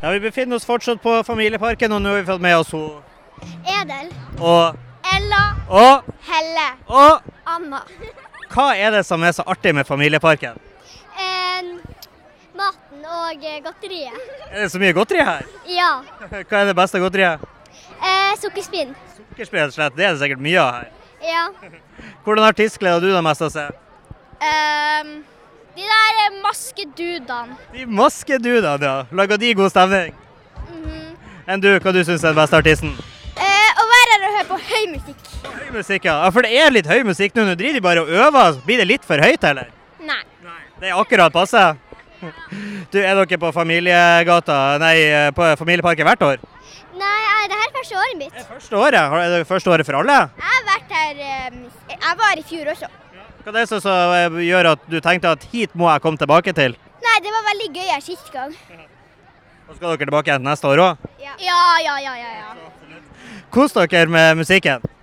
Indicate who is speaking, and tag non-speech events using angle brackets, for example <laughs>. Speaker 1: Ja, Vi befinner oss fortsatt på Familieparken, og nå har vi fått med oss hun
Speaker 2: Edel.
Speaker 1: og
Speaker 2: Ella.
Speaker 1: Og,
Speaker 2: Helle.
Speaker 1: og
Speaker 2: Anna.
Speaker 1: hva er det som er så artig med Familieparken?
Speaker 2: Em, maten og eh, godteriet.
Speaker 1: Er det så mye godteri her? <laughs>
Speaker 2: Ja.
Speaker 1: Hva er det beste godteriet?
Speaker 2: Eh, Sukkerspinn.
Speaker 1: Sukkerspinn, rett og slett. Det er det sikkert mye av her.
Speaker 2: Ja.
Speaker 1: Hvordan artist gleder du deg mest til å se?
Speaker 2: de der eh, maskedudene.
Speaker 1: De maskedudene, ja. Lager de god stemning? Enn du, hva du syns er den beste artisten?
Speaker 2: å være her Mhm. Eh, og høre på høy musikk.
Speaker 1: Høy musikk, ja. ja. For det er litt høy musikk nå. Nå driver de bare og øver. Blir det litt for høyt, eller?
Speaker 2: Nei.
Speaker 1: Nei. Det er akkurat passe. <laughs> Du, er dere på familiegata, nei, eh, på familieparken hvert år?
Speaker 2: Nei, jeg- det her er første året mitt.
Speaker 1: Det er første året. Har- Er det første året for alle?
Speaker 2: Jeg har vært her Jeg var i fjor også.
Speaker 1: Hva er det som som, eh, gjør at du tenkte at hit må jeg komme tilbake til?
Speaker 2: Nei, det var veldig gøy her sist gang.
Speaker 1: Og skal dere tilbake igjen neste år òg?
Speaker 2: Ja, ja, ja, ja. ja.
Speaker 1: Kos dere med musikken.